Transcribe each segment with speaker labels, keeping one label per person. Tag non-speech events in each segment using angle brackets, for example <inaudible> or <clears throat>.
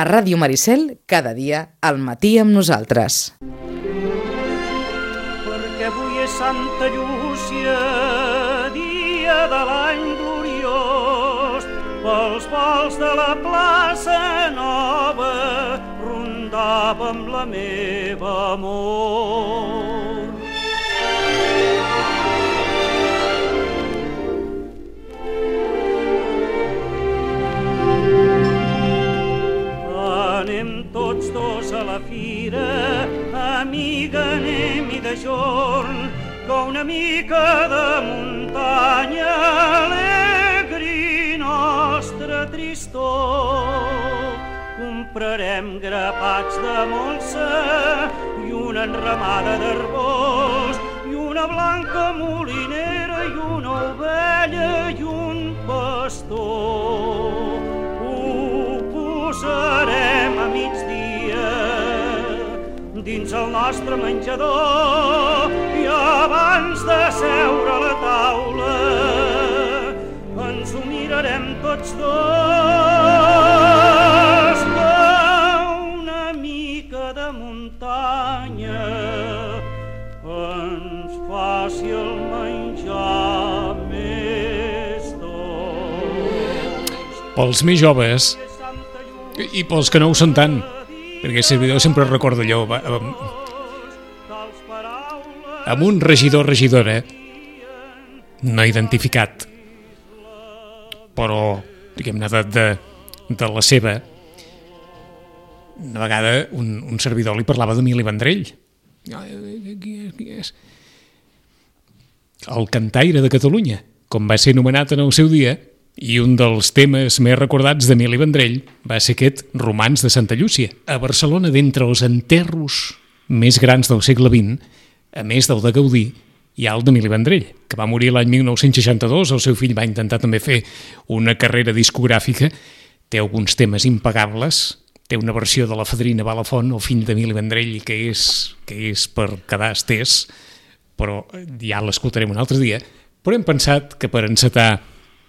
Speaker 1: A Ràdio Maricel, cada dia, al matí amb nosaltres.
Speaker 2: Perquè avui és Santa Llúcia, dia de l'any gloriós. Pels vols de la plaça nova rondava amb la meva amor. Anem tots dos a la fira, amiga, anem-hi de jorn, que una mica de muntanya alegri nostra tristor. Comprarem grapats de molsa i una enramada d'arboç i una blanca molinera i una ovella i un pastor. Ho posarem a migdia dins el nostre menjador i abans de seure a la taula ens ho mirarem tots dos que una mica de muntanya ens faci el menjar més dolç.
Speaker 3: Pels més joves i pels que no ho són tant, perquè el servidor sempre recorda allò, va, amb, amb un regidor regidora no identificat, però, diguem-ne, de, de, de la seva, una vegada un, un servidor li parlava d'Emili Vendrell. Ah, eh, Qui és, qui és? El cantaire de Catalunya, com va ser nomenat en el seu dia, i un dels temes més recordats d'Emili Vendrell va ser aquest Romans de Santa Llúcia. A Barcelona, d'entre els enterros més grans del segle XX, a més del de Gaudí, hi ha el d'Emili Vendrell, que va morir l'any 1962. El seu fill va intentar també fer una carrera discogràfica. Té alguns temes impagables. Té una versió de la Fadrina Balafont, el fill d'Emili Vendrell, que és, que és per quedar estès, però eh, ja l'escoltarem un altre dia. Però hem pensat que per encetar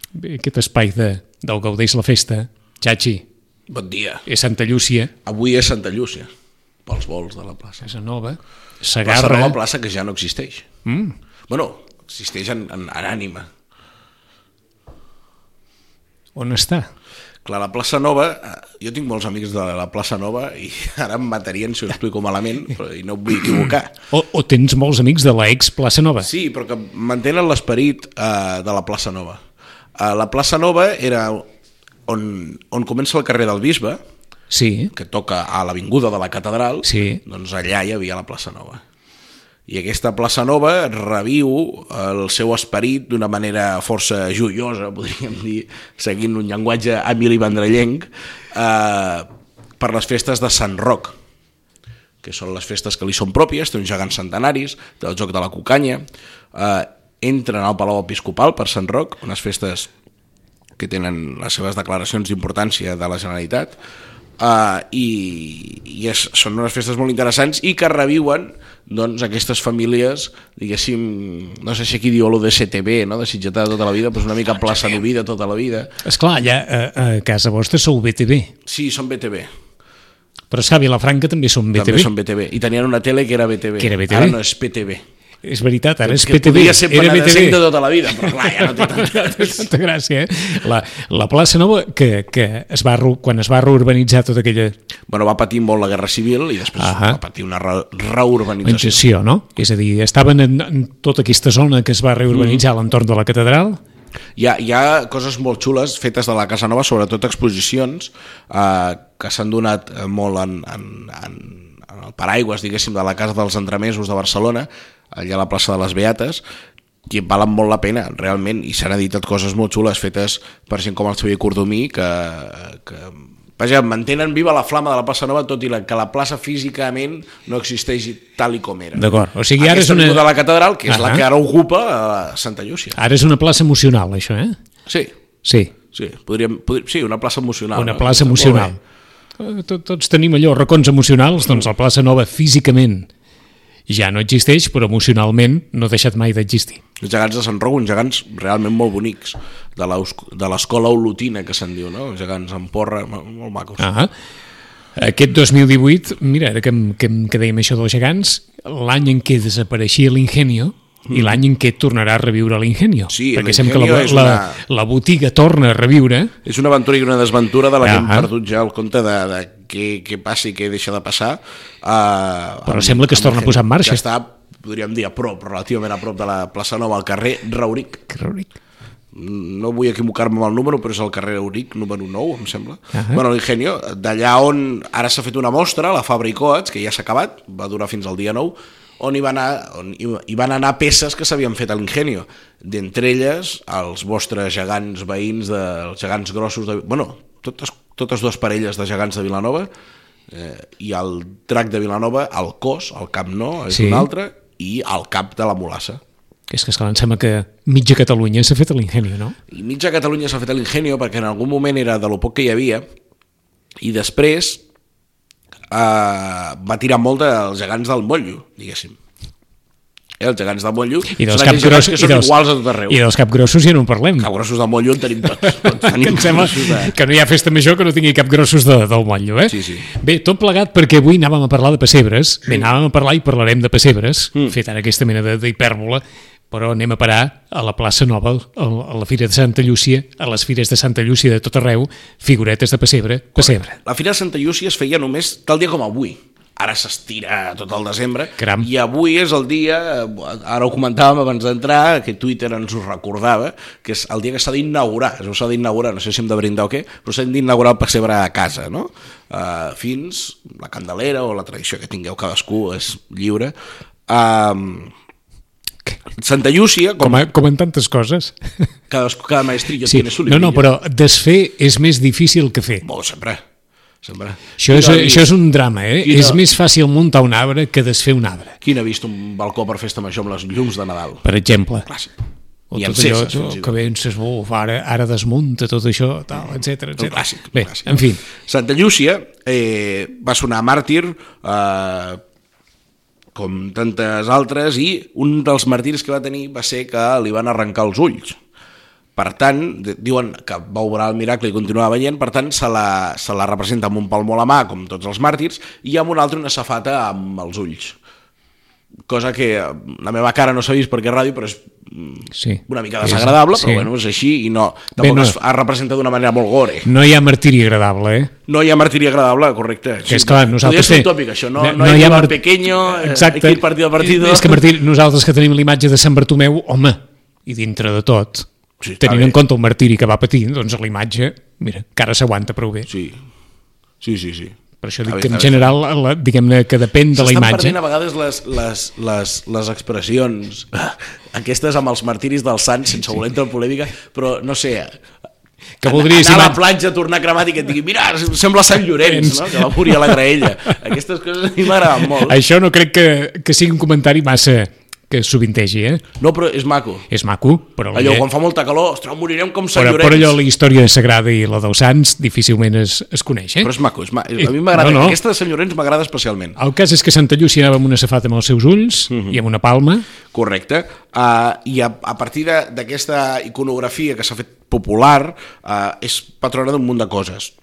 Speaker 3: bé, aquest espai de, del Gaudeix la Festa, Chachi,
Speaker 4: Bon dia.
Speaker 3: és Santa Llúcia,
Speaker 4: Avui és Santa Llúcia, pels vols de la plaça.
Speaker 3: Casanova,
Speaker 4: Plaça
Speaker 3: Sagarra...
Speaker 4: Nova, plaça que ja no existeix. Mm. Bueno, existeix en, en, en ànima.
Speaker 3: On està?
Speaker 4: Clar, la plaça Nova, eh, jo tinc molts amics de la plaça Nova i <laughs> ara em matarien si ho explico malament, però i no em vull equivocar.
Speaker 3: O, o tens molts amics de la ex Plaça Nova?
Speaker 4: Sí, però que mantenen l'esperit eh, de la plaça Nova. Eh, la plaça Nova era on, on comença el carrer del Bisbe,
Speaker 3: Sí.
Speaker 4: que toca a l'avinguda de la catedral,
Speaker 3: Sí.
Speaker 4: doncs allà hi havia la plaça Nova. I aquesta plaça Nova reviu eh, el seu esperit d'una manera força joiosa, <laughs> podríem dir, seguint un llenguatge Emili Vendrellenc, eh, per les festes de Sant Roc, que són les festes que li són pròpies, té uns gegants centenaris, té el joc de la cucanya, eh, entren al Palau Episcopal per Sant Roc, unes festes que tenen les seves declaracions d'importància de la Generalitat, uh, i, i és, són unes festes molt interessants i que reviuen doncs, aquestes famílies, diguéssim, no sé si aquí diu lo de CTB, no? de Sitgetà de tota la vida, però és una
Speaker 3: Ah,
Speaker 4: mica plaça Noví de tota la vida.
Speaker 3: Esclar, allà a, a casa vostra sou BTV,
Speaker 4: Sí, són BTV.
Speaker 3: però és que a Vilafranca també són BTV.
Speaker 4: També són BTV. I tenien una tele que era BTV.
Speaker 3: Que era BTV.
Speaker 4: Ara no és PTV.
Speaker 3: És veritat, ara és
Speaker 4: que
Speaker 3: PTV.
Speaker 4: podria ser
Speaker 3: Era
Speaker 4: penedesenc de
Speaker 3: BTV.
Speaker 4: tota la vida, però clar, ja no
Speaker 3: <laughs>
Speaker 4: té tanta...
Speaker 3: Tanta gràcia, eh? La, la plaça nova que, que es va, ru- quan es va reurbanitzar tota aquella
Speaker 4: Bueno, va patir molt la Guerra Civil i després
Speaker 3: Ahà.
Speaker 4: va patir una re reurbanització.
Speaker 3: organització, no? És a dir, estaven en, en tota aquesta zona que es va reurbanitzar
Speaker 4: Mm.
Speaker 3: a l'entorn de la catedral,
Speaker 4: Hi ha, hi ha coses molt xules fetes de la Casa Nova, sobretot exposicions eh, que s'han donat eh, molt en, en, en, en el paraigües, diguéssim, de la Casa dels Entremesos de Barcelona, allà a la plaça de les Beates, i valen molt la pena, realment, i s'han editat coses molt xules fetes per gent com el Xavier Cordomí, que, que vaja, mantenen viva la flama de la plaça Nova, tot i la, que la plaça físicament no existeix tal i com era.
Speaker 3: D'acord, o sigui, ara és
Speaker 4: Aquesta
Speaker 3: una-
Speaker 4: de la catedral, que és
Speaker 3: Ahà.
Speaker 4: la que ara ocupa eh, Santa Llúcia.
Speaker 3: ara és una plaça emocional, això, eh?
Speaker 4: Sí.
Speaker 3: Sí,
Speaker 4: Sí, podríem, podríem, sí, una plaça emocional.
Speaker 3: una
Speaker 4: Ah, no?
Speaker 3: plaça
Speaker 4: Molt
Speaker 3: emocional.
Speaker 4: bé.
Speaker 3: Eh, Tot, tots tenim allò, racons emocionals, doncs la plaça nova físicament ja no existeix, però emocionalment no ha deixat mai d'existir.
Speaker 4: Els gegants de Sant Roc, uns gegants realment molt bonics, de l'eus- de l'escola olotina que se'n diu, no? Uns gegants amb porra, mo- molt macos. Ah.
Speaker 3: Ah Aquest 2018, mira, ara que, em- que, em- que dèiem això dels gegants, l'any en què desapareixia l'Ingenio i l'any en què tornarà a reviure l'Ingenio.
Speaker 4: Mm. Sí,
Speaker 3: perquè sembla que
Speaker 4: l'Ingenio
Speaker 3: la,
Speaker 4: és
Speaker 3: la,
Speaker 4: una-
Speaker 3: la botiga torna a reviure.
Speaker 4: És una aventura i una desventura de la que hem
Speaker 3: Ah.
Speaker 4: perdut ja el compte de, de què, què passa i què deixa de passar. Uh,
Speaker 3: Però sembla que es torna a posar en marxa.
Speaker 4: Que està, podríem dir, a prop, relativament a prop de la plaça Nova, al carrer Rauric.
Speaker 3: Que rúric.
Speaker 4: No vull equivocar-me amb el número, però és el carrer Rauric, número 9, em sembla. Uh
Speaker 3: Ahà.
Speaker 4: -huh. Bueno, l'Ingenio, d'allà on ara s'ha fet una mostra, la Fabra i Coats, que ja s'ha acabat, va durar fins al dia 9, on hi van, anar, on hi hi van anar peces que s'havien fet a l'Ingenio. D'entre elles, els vostres gegants veïns, de, els gegants grossos... De, bueno, totes, totes dues parelles de gegants de Vilanova, eh, i el drac de Vilanova, el cos, el cap no, és
Speaker 3: Sí.
Speaker 4: sí. un altre, i el cap de la molassa.
Speaker 3: Que és que, esclar, em sembla que mitja Catalunya s'ha fet a l'Ingenio, no?
Speaker 4: I mitja Catalunya s'ha fet a l'ingenio perquè en algun moment era de lo poc que hi havia i després eh, va tirar molt dels gegants del Motllo, diguéssim. Eh, els gegants del Motllo
Speaker 3: I dels
Speaker 4: són aquells gegants
Speaker 3: capgrossos
Speaker 4: que són iguals a tot arreu.
Speaker 3: I dels capgrossos ja no en parlem.
Speaker 4: Capgrossos del Motllo en
Speaker 3: <laughs>
Speaker 4: tenim tots. tots
Speaker 3: que
Speaker 4: tenim
Speaker 3: em sembla
Speaker 4: capgrossos de-
Speaker 3: que no hi ha festa major que no tingui cap grossos de, del motllo, eh?
Speaker 4: Sí, sí.
Speaker 3: Bé, tot plegat perquè avui anàvem a parlar de pessebres, bé, anàvem a parlar i parlarem de pessebres, mm. fet ara aquesta mena de- d'hipèrbola, però anem a parar a la plaça Nova, a la- a la Fira de Santa Llúcia, a les Fires de Santa Llúcia de tot arreu, figuretes de pessebre, pessebre.
Speaker 4: La Fira de Santa Llúcia es feia només tal dia com avui. Ara s'estira tot el desembre.
Speaker 3: Caram.
Speaker 4: I avui és el dia, eh, ara ho comentàvem abans d'entrar, que Twitter ens ho recordava, que és el dia que s'ha d'inaugurar, es veu s'ha d'inaugurar, no sé si hem de brindar o què, però s'ha d'inaugurar el pessebre a casa, no? Uh, fins la candelera o la tradició que tingueu cadascú és lliure. Uh, Santa Llúcia, com,
Speaker 3: Com, a, com en tantes coses.
Speaker 4: cadascú, cada maestrillo
Speaker 3: Sí.
Speaker 4: tiene su
Speaker 3: No, no,
Speaker 4: librillo.
Speaker 3: però desfer és més difícil que fer.
Speaker 4: Bo, sempre, sempre.
Speaker 3: Això és,
Speaker 4: Qui no ha
Speaker 3: això
Speaker 4: vist-
Speaker 3: és un drama, eh?
Speaker 4: Quina-
Speaker 3: És més fàcil muntar un arbre que desfer un arbre,
Speaker 4: Qui n'ha vist un balcó per festa major amb les llums de Nadal?
Speaker 3: per exemple.
Speaker 4: Clàssic.
Speaker 3: o
Speaker 4: I
Speaker 3: tot
Speaker 4: amb
Speaker 3: allò
Speaker 4: cesses, fins i
Speaker 3: que
Speaker 4: tot.
Speaker 3: penses, uf, ara, ara desmunta tot això, tal, etc
Speaker 4: Un
Speaker 3: etc.
Speaker 4: clàssic. un
Speaker 3: Bé,
Speaker 4: clàssic.
Speaker 3: en fi,
Speaker 4: Santa Llúcia eh, va sonar màrtir eh, com tantes altres i un dels màrtirs que va tenir va ser que li van arrencar els ulls. Per tant, d- diuen que va obrar el miracle i continuava veient, per tant, se la, se la representa amb un palmó a la mà, com tots els màrtirs, i amb un altre una safata amb els ulls. Cosa que eh, la meva cara no s'ha vist perquè ràdio, però és mm,
Speaker 3: sí.
Speaker 4: una mica desagradable,
Speaker 3: Sí.
Speaker 4: però bueno, és així i no, tampoc
Speaker 3: no.
Speaker 4: es, es representa d'una manera molt gore.
Speaker 3: No hi ha martiri agradable, eh?
Speaker 4: No hi ha martiri agradable, correcte.
Speaker 3: Que és clar, nosaltres...
Speaker 4: Podria ser
Speaker 3: sí.
Speaker 4: un tòpic, això. No, no, no hi ha mar...
Speaker 3: mart-
Speaker 4: pequeño,
Speaker 3: Exacte.
Speaker 4: Exacte. aquí partido a partido...
Speaker 3: És que martiri, nosaltres que tenim l'imatge de Sant Bartomeu, home, i dintre de tot,
Speaker 4: Sí, està
Speaker 3: tenint
Speaker 4: bé.
Speaker 3: en compte el martiri que va patir, doncs l'imatge, mira, que ara s'aguanta prou bé.
Speaker 4: Sí, sí, sí. sí.
Speaker 3: Per això dic
Speaker 4: Està bé,
Speaker 3: que en
Speaker 4: està bé.
Speaker 3: general, la- diguem-ne que depèn de la
Speaker 4: S'estan
Speaker 3: imatge.
Speaker 4: perdent a vegades les, les, les, les expressions, <laughs> aquestes amb els martiris dels sants, sense voler entrar en polèmica, però no sé,
Speaker 3: Que voldries
Speaker 4: anar a
Speaker 3: imatge-
Speaker 4: la platja, tornar cremat i que et digui, mira, sembla Sant Llorenç, no? que va morir a la graella. Aquestes coses a mi m'agraden molt.
Speaker 3: Això no crec que, que sigui un comentari massa que sovintegi, eh?
Speaker 4: No, però és maco.
Speaker 3: És maco, però,
Speaker 4: Allò,
Speaker 3: la,
Speaker 4: quan fa molta calor, ostres, morirem com Sant
Speaker 3: però,
Speaker 4: Llorenç.
Speaker 3: però allò la història sagrada i la dels sants difícilment es, es coneix, eh?
Speaker 4: Però
Speaker 3: Però...
Speaker 4: és maco, és ma... a mi m'agrada,
Speaker 3: No,
Speaker 4: no,
Speaker 3: no.
Speaker 4: no. aquesta de Sant Llorenç m'agrada especialment.
Speaker 3: El cas és que Santa Llúcia anava amb una safata amb els seus ulls
Speaker 4: Mhm.
Speaker 3: i amb una palma.
Speaker 4: Correcte. Uh, I a, a partir de- d'aquesta iconografia que s'ha fet popular, uh, és patrona d'un munt de coses.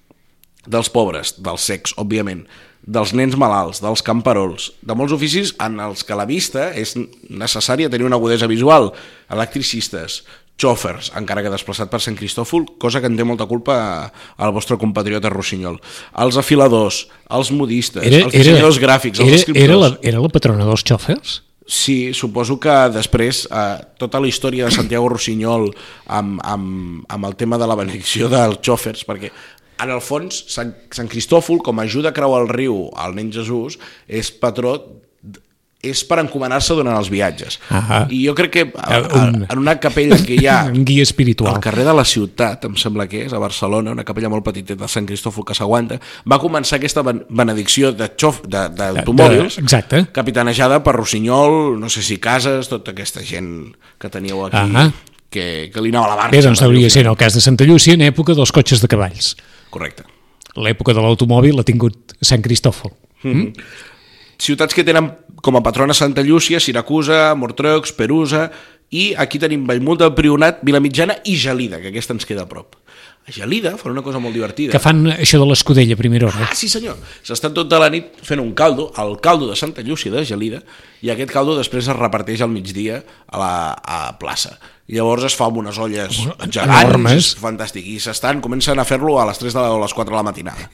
Speaker 4: Dels pobres, dels secs, òbviament, dels nens malalts, dels camperols, de molts oficis en els que la vista és necessària tenir una agudesa visual. Electricistes, xòfers, encara que desplaçat per Sant Cristòfol, cosa que en té molta culpa al vostre compatriota Rossinyol. Els afiladors, els modistes, els dissenyadors gràfics, els
Speaker 3: era,
Speaker 4: escriptors...
Speaker 3: Era la, era la patrona dels xòfers?
Speaker 4: Sí, suposo que després eh, tota la història de Santiago Rossinyol amb, amb, amb el tema de la benedicció dels xòfers, perquè en el fons Sant, Sant Cristòfol, com ajuda a creuar el riu al nen Jesús, és patró d- és per encomanar-se durant els viatges.
Speaker 3: Ahà.
Speaker 4: I jo crec que a,
Speaker 3: Eh,
Speaker 4: a,
Speaker 3: un-
Speaker 4: en una capella que hi ha
Speaker 3: <laughs> Un guia espiritual.
Speaker 4: al carrer de la ciutat, em sembla que és, a Barcelona, una capella molt petiteta de Sant Cristòfol que s'aguanta, va començar aquesta ben- benedicció de xof- de- d'automòbils,
Speaker 3: de- exacte.
Speaker 4: capitanejada per Rossinyol, no sé si Cases, tota aquesta gent que teníeu aquí,
Speaker 3: Ahà.
Speaker 4: que, que li anava a la barca.
Speaker 3: Bé, doncs
Speaker 4: per
Speaker 3: hauria de
Speaker 4: dir-ho.
Speaker 3: ser en el cas de Santa Llúcia en època dels cotxes de cavalls.
Speaker 4: Correcte.
Speaker 3: L'època de l'automòbil l'ha tingut Sant Cristòfol.
Speaker 4: Ciutats que tenen com a patrona Santa Llúcia, Siracusa, Mortreux, Perusa, i aquí tenim Bellmunt del Prionat, Vilamitjana i Gelida, que aquesta ens queda a prop. a Gelida fan una cosa molt divertida.
Speaker 3: Que fan això de l'escudella a primera hora.
Speaker 4: Ah, sí senyor, s'està tota la nit fent un caldo, el caldo de Santa Llúcia de Gelida, i aquest caldo després es reparteix al migdia a la a la plaça. Llavors es fa amb unes olles gegants,
Speaker 3: Enormes.
Speaker 4: fantàstic, i s'estan, comencen a fer-lo a les 3 de la, o les 4 de la matinada.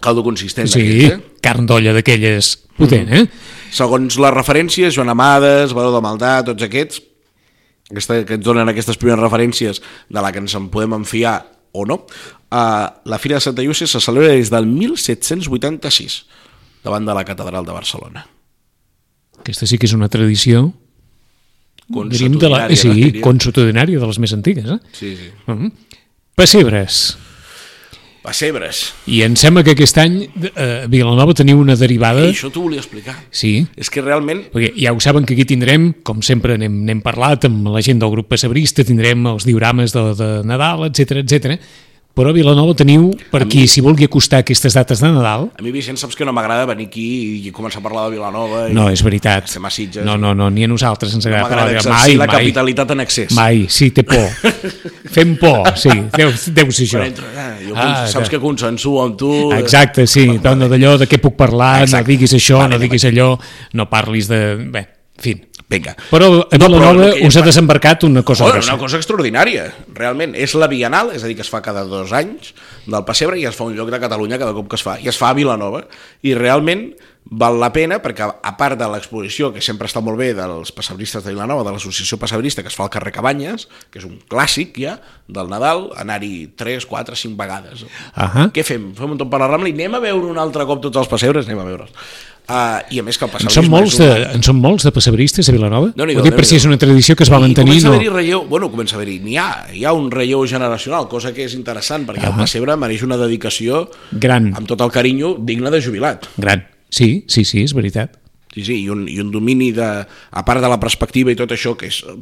Speaker 4: Caldo consistent,
Speaker 3: Sí,
Speaker 4: aquest, eh? Mm.
Speaker 3: carn d'olla d'aquelles potent, eh?
Speaker 4: Segons les referències, Joan Amades, Baró de Maldà, tots aquests, aquesta, que ens donen aquestes primeres referències de la que ens en podem enfiar o no, uh, la Fira de Santa Llúcia se celebra des del 1786 davant de la Catedral de Barcelona.
Speaker 3: Aquesta sí que és una tradició diríem, de la,
Speaker 4: Consuetudinària, no?
Speaker 3: sí,
Speaker 4: Diria.
Speaker 3: consutudinària de les més antigues, eh?
Speaker 4: Sí, sí.
Speaker 3: Mm. Pessebres.
Speaker 4: Pessebres.
Speaker 3: I em sembla que aquest any eh, a Vilanova teniu una derivada...
Speaker 4: Eh? Això t'ho volia explicar.
Speaker 3: Sí,
Speaker 4: És que realment
Speaker 3: perquè ja ho saben que aquí tindrem, com sempre n'hem, n'hem parlat amb la gent del grup passebrista, tindrem els diorames de, de Nadal, etc etc. però a Vilanova teniu, per qui s'hi vulgui acostar a aquestes dates de Nadal,
Speaker 4: a mi, Vicent, saps que no m'agrada venir aquí i començar a parlar de Vilanova. I...
Speaker 3: no, és veritat.
Speaker 4: Estem a Sitges.
Speaker 3: No, no, no, ni a nosaltres ens
Speaker 4: no
Speaker 3: agrada
Speaker 4: m'agrada
Speaker 3: parlar de-
Speaker 4: exercir la capitalitat en excés.
Speaker 3: Mai, sí, té por. Fem por, sí, deu, deu ser això.
Speaker 4: Quan entro, ah, jo
Speaker 3: Ah,
Speaker 4: ah, saps
Speaker 3: ja.
Speaker 4: que consensuo amb tu. eh,
Speaker 3: Exacte, sí, dona d'allò de què puc parlar,
Speaker 4: Exacte.
Speaker 3: no diguis això,
Speaker 4: Vale,
Speaker 3: no
Speaker 4: anem
Speaker 3: diguis allò, no parlis de... Bé, en fi.
Speaker 4: Vinga.
Speaker 3: Però a
Speaker 4: però
Speaker 3: Vilanova
Speaker 4: el que-
Speaker 3: us ha desembarcat una cosa
Speaker 4: Bueno,
Speaker 3: grossa.
Speaker 4: una cosa extraordinària, realment. És la Bienal, és a dir, que es fa cada dos anys del Passebre i es fa a un lloc de Catalunya cada cop que es fa. I es fa a Vilanova. I realment val la pena perquè, a part de l'exposició, que sempre està molt bé, dels passebristes de Vilanova, de l'associació passebrista que es fa al carrer Cabanyes, que és un clàssic ja del Nadal, anar-hi 3, 4, 5 vegades.
Speaker 3: Ahà.
Speaker 4: Què fem? Fem un tomb per la Rambla i anem a veure un altre cop tots els passebres? Anem a veure'ls. Uh, I a més que el
Speaker 3: En
Speaker 4: passebrisme...
Speaker 3: són, molts
Speaker 4: és
Speaker 3: de,
Speaker 4: un-
Speaker 3: en són molts de passebristes a Vilanova?
Speaker 4: Déu-n'hi-do,
Speaker 3: Ho dic per
Speaker 4: Déu-n'hi-do.
Speaker 3: si és una tradició que es va mantenir,
Speaker 4: I comença
Speaker 3: no?
Speaker 4: a haver-hi relleu, bueno, comença a haver-hi, n'hi ha, hi ha un relleu generacional, cosa que és interessant, perquè
Speaker 3: Ah.
Speaker 4: el Passebre mereix una dedicació
Speaker 3: Gran,
Speaker 4: amb tot el carinyo digna de jubilat.
Speaker 3: gran. Sí, sí, sí, és veritat.
Speaker 4: Sí, sí, i un, i un domini, de, a part de la perspectiva i tot això, que és eh,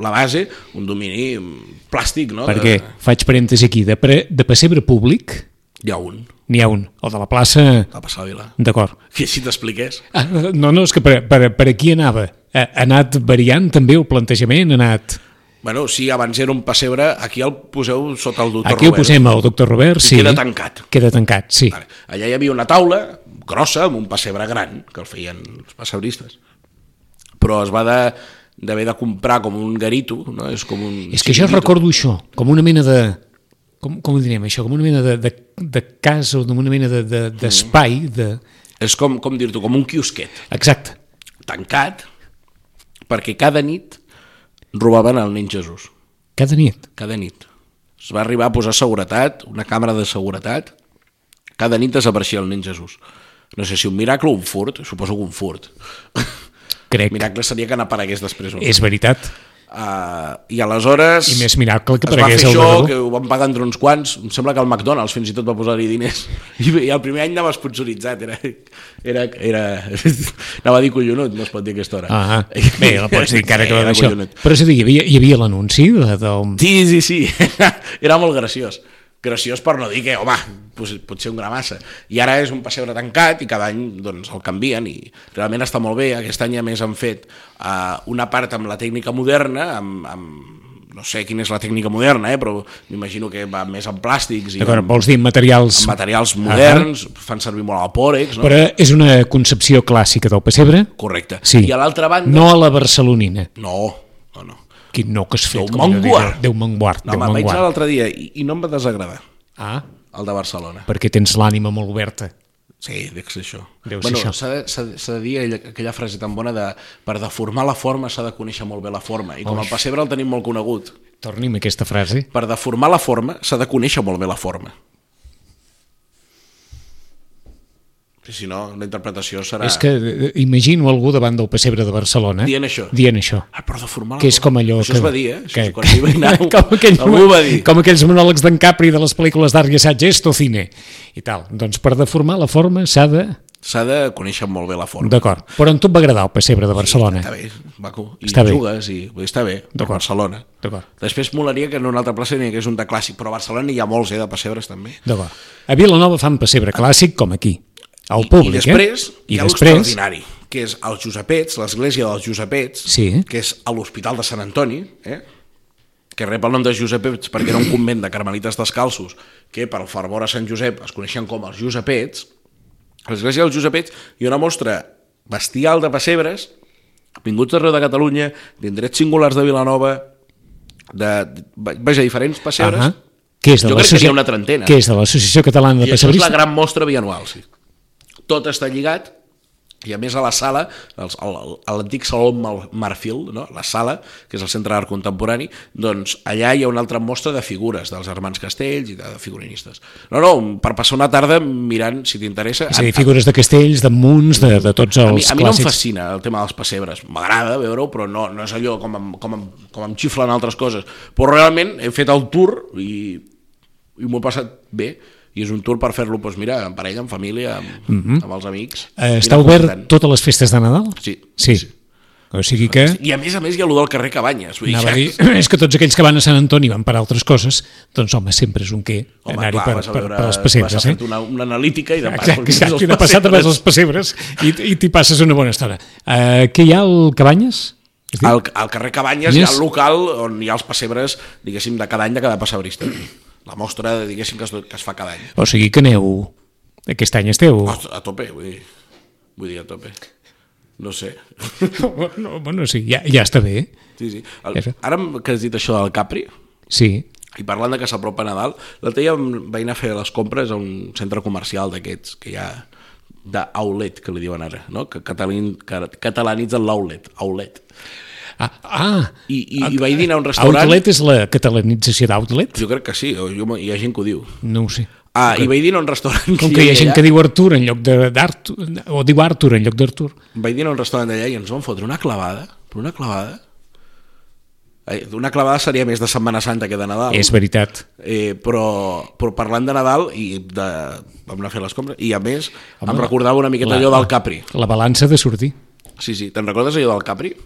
Speaker 4: la base, un domini mm, plàstic, no?
Speaker 3: Perquè
Speaker 4: De,
Speaker 3: faig parèntesi aquí, de, pre, de pessebre públic
Speaker 4: hi ha un,
Speaker 3: n'hi ha un, o de la plaça...
Speaker 4: a passar a Vila.
Speaker 3: D'acord.
Speaker 4: Que si t'expliqués...
Speaker 3: Ah, No, no, és que per, per, per aquí anava. Ha ha anat variant també el plantejament, ha anat...
Speaker 4: Bueno, si abans era un pessebre, aquí el poseu sota el doctor
Speaker 3: Aquí ho
Speaker 4: Robert.
Speaker 3: posem al doctor Robert,
Speaker 4: I
Speaker 3: sí.
Speaker 4: queda tancat.
Speaker 3: Queda tancat, sí.
Speaker 4: Vale. Allà hi havia una taula grossa amb un pessebre gran, que el feien els pessebristes. Però es va de- d'haver de, de comprar com un garito, no? És com un...
Speaker 3: És que jo
Speaker 4: xiringuito.
Speaker 3: recordo això, com una mena de... Com, com ho diríem, això? Com una mena de, de, de casa o com una mena d'espai, de, d'espai de,
Speaker 4: És com, com dir-t'ho, com un quiosquet
Speaker 3: Exacte.
Speaker 4: tancat, perquè cada nit robaven el nen Jesús.
Speaker 3: Cada nit.
Speaker 4: Cada nit. Es va arribar a posar seguretat, una càmera de seguretat. Cada nit desapareixia el nen Jesús. No sé si un miracle o un furt, suposo que un furt.
Speaker 3: Crec. Mira,
Speaker 4: Miracle seria que n'aparegués després. Un...
Speaker 3: és veritat.
Speaker 4: Uh, I aleshores...
Speaker 3: I més miracle que
Speaker 4: es va fer
Speaker 3: aparegués el
Speaker 4: això,
Speaker 3: nadó.
Speaker 4: que ho van pagar entre uns quants, em sembla que el McDonald's fins i tot va posar-hi diners, <laughs> i, i el primer any anava esponsoritzat, era, era, era <laughs> anava a dir collonut, no es pot dir a aquesta hora. <laughs>
Speaker 3: Ah, ah. Bé, la pots dir encara que va
Speaker 4: Era
Speaker 3: d'això.
Speaker 4: collonut.
Speaker 3: Però és a dir, hi havia, hi havia l'anunci de, de...
Speaker 4: Sí, sí, sí, <laughs> era molt graciós. Graciós per no dir que, home, pues, potser una massa. I ara és un pessebre tancat i cada any doncs, el canvien i realment està molt bé. Aquest any a més han fet uh, una part amb la tècnica moderna, amb, amb no sé quina és la tècnica moderna, eh, però m'imagino que va més amb plàstics i
Speaker 3: D'acord,
Speaker 4: amb,
Speaker 3: vols dir materials...
Speaker 4: amb materials moderns, fan servir molt el pòrex, no?
Speaker 3: Però és una concepció clàssica del pessebre,
Speaker 4: Correcte.
Speaker 3: sí.
Speaker 4: I a l'altra banda...
Speaker 3: no a la barcelonina.
Speaker 4: No, no, no.
Speaker 3: Quin no que has fet?
Speaker 4: Déu
Speaker 3: com jo diria.
Speaker 4: Manguard.
Speaker 3: Déu Manguard.
Speaker 4: no
Speaker 3: Déu
Speaker 4: home, vaig anar
Speaker 3: Manguard.
Speaker 4: l'altre dia i, i no em va desagradar,
Speaker 3: Ah,
Speaker 4: el de Barcelona.
Speaker 3: perquè tens l'ànima molt oberta.
Speaker 4: Sí, deu ser això.
Speaker 3: Deu ser
Speaker 4: bueno,
Speaker 3: això.
Speaker 4: s'ha de, s'ha de- s'ha de dir aquella, aquella frase tan bona de per deformar la forma s'ha de conèixer molt bé la forma. I com el pessebre el tenim molt conegut.
Speaker 3: Torni'm a aquesta frase.
Speaker 4: Per deformar la forma s'ha de conèixer molt bé la forma. Sí, Si no, la interpretació serà...
Speaker 3: És que eh, imagino algú davant del pessebre de Barcelona
Speaker 4: Dient això.
Speaker 3: dient això.
Speaker 4: Ah, per deformar la
Speaker 3: que és
Speaker 4: forma.
Speaker 3: com allò
Speaker 4: Això
Speaker 3: que,
Speaker 4: es va dir, eh? Això
Speaker 3: que,
Speaker 4: és quan hi
Speaker 3: <laughs>
Speaker 4: vaig anar,
Speaker 3: com, aquell,
Speaker 4: algú va dir.
Speaker 3: com aquells monòlegs d'en Capri de les pel·lícules d'art i assaig esto cine i tal, doncs per deformar la forma s'ha de...
Speaker 4: S'ha de conèixer molt bé la forma.
Speaker 3: d'acord, però en tot va agradar el pessebre de Barcelona
Speaker 4: Està bé, és maco. I
Speaker 3: Està bé.
Speaker 4: jugues, i vull dir, està bé, de
Speaker 3: D'acord.
Speaker 4: Barcelona.
Speaker 3: d'acord,
Speaker 4: Després molaria que en una altra plaça n'hi hagués un de clàssic, però a Barcelona hi ha molts, eh, de pessebres també.
Speaker 3: d'acord a Vilanova fan pessebre clàssic com aquí al
Speaker 4: I
Speaker 3: públic,
Speaker 4: després
Speaker 3: eh?
Speaker 4: hi ha l'extraordinari, que és els Josepets, l'església dels Josepets,
Speaker 3: Sí.
Speaker 4: que és a l'Hospital de Sant Antoni, eh? que rep el nom de Giusepets perquè era un convent de carmelites descalços que per fervor a Sant Josep es coneixien com els Giusepets, a l'església dels Giusepets hi ha una mostra bestial de pessebres vinguts d'arreu de Catalunya, d'indrets singulars de Vilanova, de, vaja, diferents pessebres. Uh
Speaker 3: Ah,
Speaker 4: -huh.
Speaker 3: que és de
Speaker 4: Jo crec que
Speaker 3: l'associ-
Speaker 4: n'hi ha una trentena.
Speaker 3: Que és de l'Associació Catalana de
Speaker 4: I això és
Speaker 3: Pessebristes.
Speaker 4: la gran mostra bianual, sí. Tot està lligat, i a més a la sala, els- el- el- a l'antic Saló Mar- Marfil, no? la sala, que és el Centre d'Art Contemporani, doncs allà hi ha una altra mostra de figures, dels germans Castells i de, de figurinistes. No, no, per passar una tarda mirant, si t'interessa...
Speaker 3: És a dir, figures de castells, de munts, de, de tots els
Speaker 4: a mi, a mi no em
Speaker 3: clàssics.
Speaker 4: fascina el tema dels pessebres. M'agrada veure-ho, però no, no és allò com em, com, em, com em xiflen altres coses. Però realment he fet el tour i, i m'ho he passat bé. I és un tour per fer-lo, doncs mira, en parella, en família, amb, mm -hmm. amb els amics.
Speaker 3: Eh,
Speaker 4: Mira,
Speaker 3: està obert
Speaker 4: important.
Speaker 3: totes les festes de Nadal?
Speaker 4: Sí.
Speaker 3: Sí. O sigui que...
Speaker 4: I a més a més hi ha allò del carrer Cabanyes. Vull dir,
Speaker 3: Anava
Speaker 4: ja,
Speaker 3: a dir, <clears throat> és que tots aquells que van a Sant Antoni van per altres coses, doncs home, sempre és un què
Speaker 4: Home,
Speaker 3: anar-hi
Speaker 4: clar,
Speaker 3: per,
Speaker 4: vas a
Speaker 3: per,
Speaker 4: veure,
Speaker 3: per els
Speaker 4: vas
Speaker 3: pessebres,
Speaker 4: a
Speaker 3: eh?
Speaker 4: fer una, una analítica i de pas
Speaker 3: Exacte,
Speaker 4: coneixes
Speaker 3: exacte,
Speaker 4: els
Speaker 3: i de passar també
Speaker 4: pessebres.
Speaker 3: els pessebres i, i t'hi passes una bona estona. Uh, què hi ha al Cabanyes? Es diu?
Speaker 4: Al, al carrer Cabanyes
Speaker 3: Yes.
Speaker 4: hi ha el local on hi ha els pessebres, diguéssim, de cada any de cada pessebrista. La mostra, diguéssim, que es, que es fa cada any.
Speaker 3: O sigui que aneu... Aquest any
Speaker 4: <laughs>
Speaker 3: esteu...
Speaker 4: A, a tope, vull dir, vull dir a tope. No sé. <laughs>
Speaker 3: Bueno, bueno, sí, ja, ja està bé.
Speaker 4: Sí, sí.
Speaker 3: Ja
Speaker 4: El,
Speaker 3: sé.
Speaker 4: ara que has dit això del Capri,
Speaker 3: Sí.
Speaker 4: i parlant de que s'apropa Nadal, l'altre dia em vaig anar a fer les compres a un centre comercial d'aquests que hi ha d'outlet, que li diuen ara, no? que, catalin, que catalanitzen l'outlet, outlet.
Speaker 3: Ah, ah
Speaker 4: I, i, I vaig dinar a un restaurant...
Speaker 3: Outlet és la catalanització d'outlet?
Speaker 4: Jo crec que sí, o jo, hi ha gent que ho diu.
Speaker 3: No ho sé.
Speaker 4: Ah, i vaig dinar a un restaurant...
Speaker 3: Com que hi ha gent
Speaker 4: allà.
Speaker 3: que diu Artur en lloc de- d'Artur, o diu Artur en lloc d'Artur.
Speaker 4: vaig dinar a un restaurant d'allà i ens van fotre una clavada, però una clavada... Ai, Una clavada seria més de Setmana Santa que de Nadal.
Speaker 3: És veritat.
Speaker 4: Eh, però, però parlant de Nadal i de, vam anar a fer les compres i a més Home, em recordava una miqueta
Speaker 3: la-
Speaker 4: allò del Capri
Speaker 3: La balança de sortir.
Speaker 4: sí, sí, te'n recordes allò del Capri?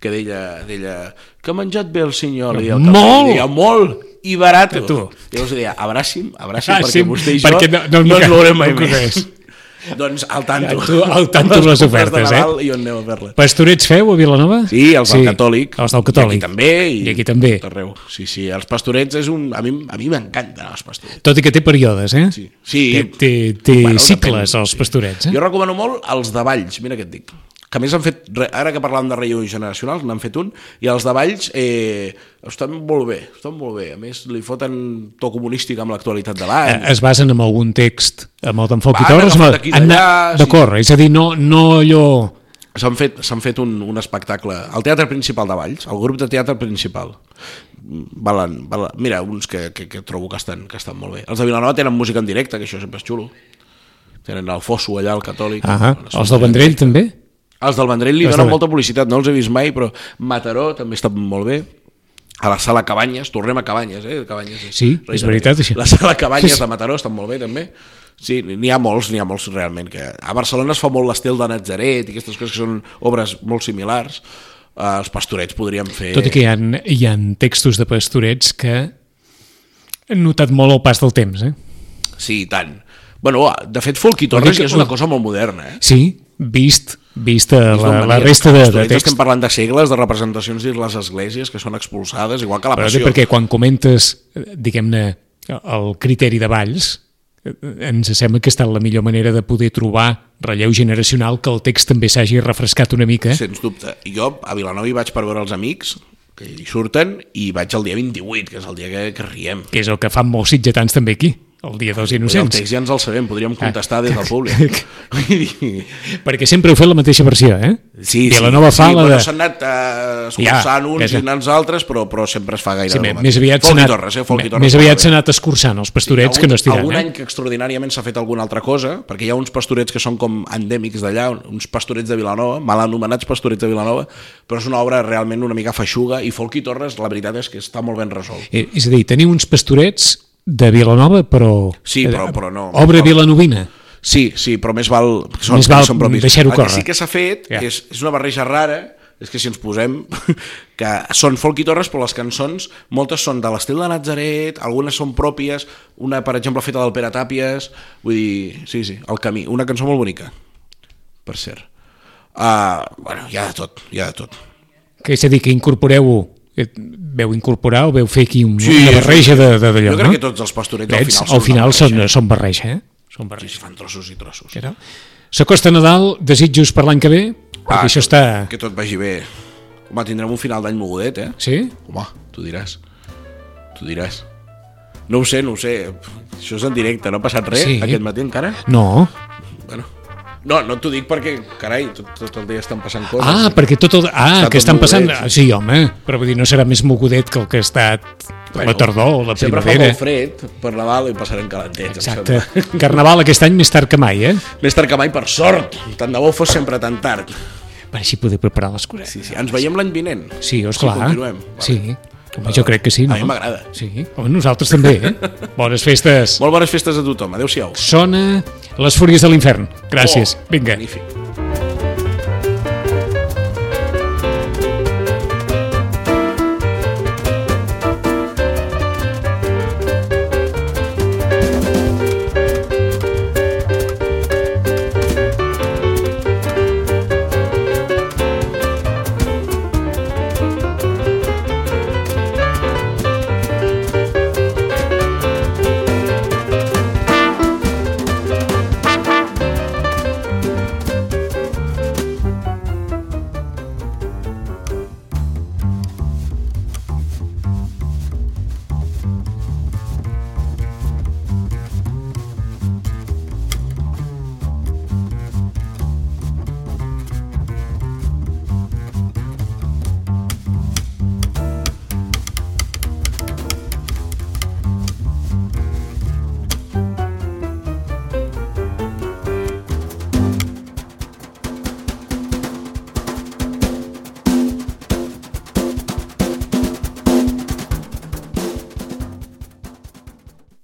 Speaker 4: que deia, deia que ha menjat bé el senyor li deia el
Speaker 3: Molt!
Speaker 4: Capri, deia, molt i barat
Speaker 3: Que tu.
Speaker 4: llavors deia abraci'm, abraci'm
Speaker 3: Ah,
Speaker 4: perquè
Speaker 3: sí,
Speaker 4: vostè i jo
Speaker 3: perquè no- no-
Speaker 4: no ens veurem mai
Speaker 3: no
Speaker 4: més
Speaker 3: coneix.
Speaker 4: doncs al tanto
Speaker 3: Al tu- al tanto amb les
Speaker 4: compres
Speaker 3: ofertes,
Speaker 4: de
Speaker 3: eh?
Speaker 4: Nadal i on aneu a fer-les
Speaker 3: Pastorets feu a Vilanova?
Speaker 4: Sí, els del Catòlic.
Speaker 3: Els del Catòlic.
Speaker 4: I aquí també. I,
Speaker 3: I aquí també.
Speaker 4: tot Arreu. Sí, sí, els pastorets és un... A mi a mi m'encanten els pastorets.
Speaker 3: Tot i que té períodes, eh?
Speaker 4: Sí. sí.
Speaker 3: Té, té, té
Speaker 4: Bueno,
Speaker 3: bueno, cicles,
Speaker 4: depèn,
Speaker 3: els
Speaker 4: sí.
Speaker 3: pastorets, eh?
Speaker 4: Jo recomano molt els de Valls, mira què et dic. Que a més han fet, re- ara que parlàvem de relleu generacional, n'han fet un, i els de Valls eh, estan molt bé, estan molt bé. A més, li foten to comunístic amb l'actualitat de l'any.
Speaker 3: Eh, Es basen en algun text, amb el d'en Foc
Speaker 4: Va,
Speaker 3: i Torres,
Speaker 4: agafat
Speaker 3: amb el...
Speaker 4: d'aquí,
Speaker 3: han anat
Speaker 4: d'allà,
Speaker 3: de
Speaker 4: sí.
Speaker 3: córrer, és a dir, no, no allò...
Speaker 4: S'han fet, s'han fet un, un espectacle al Teatre Principal de Valls, al grup de teatre principal. Mm, Valen, valen, mira, uns que, que, que trobo que estan, que estan molt bé. Els de Vilanova tenen música en directe, que això sempre és xulo. Tenen el Fosso allà, el catòlic.
Speaker 3: Ah,
Speaker 4: Bueno,
Speaker 3: els del Vendrell també?
Speaker 4: Els del Vendrell li
Speaker 3: Els
Speaker 4: donen
Speaker 3: del-
Speaker 4: molta publicitat, no els he vist mai, però Mataró també està molt bé. A la sala Cabanyes, tornem a Cabanyes, eh? Cabanyes
Speaker 3: Sí, és
Speaker 4: reiteratiu.
Speaker 3: veritat, això.
Speaker 4: La sala Cabanyes de Mataró estan molt bé, també. Sí, n'hi ha molts, n'hi ha molts realment. Que a Barcelona es fa molt l'estil de Nazaret i aquestes coses que són obres molt similars. Eh, els pastorets podríem fer...
Speaker 3: Tot i que hi ha, hi ha textos de pastorets que han notat molt el pas del temps, eh?
Speaker 4: Sí, i tant. Bueno, ah, de fet, Folk i Torres
Speaker 3: que-
Speaker 4: ja és una cosa molt moderna, eh?
Speaker 3: Sí, vist, vist la,
Speaker 4: És d'on
Speaker 3: la, la
Speaker 4: venien.
Speaker 3: resta de,
Speaker 4: Els
Speaker 3: de
Speaker 4: pastorets
Speaker 3: text.
Speaker 4: Estem parlant de segles, de representacions dins les esglésies que són expulsades, igual que la
Speaker 3: Però
Speaker 4: passió.
Speaker 3: dic perquè quan comentes, eh, diguem-ne, el criteri de Valls, eh, ens sembla que ha estat la millor manera de poder trobar relleu generacional que el text també s'hagi refrescat una mica. Sí.
Speaker 4: Sens dubte. I jo a Vilanova hi vaig per veure els amics, que hi surten, i vaig el dia 28, que és el dia que, que riem.
Speaker 3: que és el que fan molts sitgetans també aquí, el Dia dels
Speaker 4: Vull dir, El
Speaker 3: Innocents,
Speaker 4: text ja ens el sabem, podríem
Speaker 3: Ah.
Speaker 4: contestar
Speaker 3: <laughs>
Speaker 4: des del públic. Vull dir,
Speaker 3: perquè sempre heu fet la mateixa versió, eh?
Speaker 4: Sí,
Speaker 3: Vilanova
Speaker 4: sí,
Speaker 3: fa
Speaker 4: sí,
Speaker 3: la
Speaker 4: bueno,
Speaker 3: de...
Speaker 4: s'han anat eh, escurçant
Speaker 3: Ja,
Speaker 4: uns
Speaker 3: ja, ja.
Speaker 4: i anant els altres, però, però sempre es fa gaire
Speaker 3: Sí, me- més aviat s'ha
Speaker 4: Folk i
Speaker 3: anat,
Speaker 4: Torres, eh? Folk i
Speaker 3: me-
Speaker 4: Torres
Speaker 3: més
Speaker 4: fa
Speaker 3: aviat
Speaker 4: bé.
Speaker 3: s'ha anat escurçant els pastorets
Speaker 4: Algun-
Speaker 3: que no es
Speaker 4: Algun
Speaker 3: tiraran,
Speaker 4: any
Speaker 3: eh?
Speaker 4: que extraordinàriament s'ha fet alguna altra cosa, perquè hi ha uns pastorets que són com endèmics d'allà, uns pastorets de Vilanova, mal anomenats pastorets de Vilanova, però és una obra realment una mica feixuga, i Folk i Torres, la veritat és que està molt ben resolt.
Speaker 3: Eh, És a dir, teniu uns pastorets de Vilanova, però... eh,
Speaker 4: Sí, però- però no.
Speaker 3: Obra
Speaker 4: No.
Speaker 3: vilanovina.
Speaker 4: Sí, sí, però més val... Són,
Speaker 3: Més val
Speaker 4: són propis.
Speaker 3: deixar-ho
Speaker 4: El que
Speaker 3: córrer.
Speaker 4: sí que s'ha fet
Speaker 3: Ja.
Speaker 4: yeah. és, és una barreja rara, és que si ens posem... <laughs> que són folk i torres, però les cançons, moltes són de l'estil de Nazaret, algunes són pròpies, una, per exemple, feta del Pere Tàpies, vull dir, sí, sí, El Camí, una cançó molt bonica, per cert. Ah, Uh, bueno, hi ha de tot, hi ha de tot.
Speaker 3: Que és a dir, que incorporeu eh, veu incorporar o veu fer aquí un,
Speaker 4: Sí,
Speaker 3: una
Speaker 4: és-
Speaker 3: barreja de, de, d'allò,
Speaker 4: Jo crec
Speaker 3: no?
Speaker 4: que tots els pastorets al
Speaker 3: Drets,
Speaker 4: final,
Speaker 3: al final
Speaker 4: són...
Speaker 3: són,
Speaker 4: una barreja.
Speaker 3: són barreja, eh? Són barreja.
Speaker 4: Sí, es fan trossos i trossos.
Speaker 3: Era. S'acosta Nadal, desitjos per l'any que ve, perquè això està...
Speaker 4: Ah, Que tot vagi bé. Home, tindrem un final d'any mogudet, eh?
Speaker 3: Sí?
Speaker 4: Home, tu diràs. Tu diràs. No ho sé, no ho sé. Això és en directe, no ha passat res
Speaker 3: Sí.
Speaker 4: aquest matí encara?
Speaker 3: No.
Speaker 4: Bueno. No, no t'ho dic perquè, carai, tot, tot el dia estan passant coses.
Speaker 3: Ah, perquè tot el... Ah,
Speaker 4: Està
Speaker 3: que
Speaker 4: tot
Speaker 3: estan passant...
Speaker 4: mogudet,
Speaker 3: Sí, home, però vull dir, no serà més mogudet que el que ha estat la tardor o la
Speaker 4: Sempre fa
Speaker 3: primavera.
Speaker 4: molt fred per Nadal i passarem calentets. em
Speaker 3: Exacte.
Speaker 4: sembla.
Speaker 3: Carnaval aquest any més tard que mai, eh?
Speaker 4: Més tard que mai, per sort. Tant de bo fos sempre tan tard.
Speaker 3: Per així poder preparar les coses.
Speaker 4: Sí, sí. Ens veiem l'any vinent.
Speaker 3: Sí, esclar.
Speaker 4: Si continuem. Vale.
Speaker 3: Sí. Home, jo crec que sí, no?
Speaker 4: A mi m'agrada.
Speaker 3: Sí. Home, nosaltres també,
Speaker 4: <laughs>
Speaker 3: eh? Bones festes.
Speaker 4: Molt bones festes a tothom. Adéu-siau.
Speaker 3: Sona les fúries de l'infern. Gràcies.
Speaker 4: Oh,
Speaker 3: Vinga.
Speaker 4: Magnífic.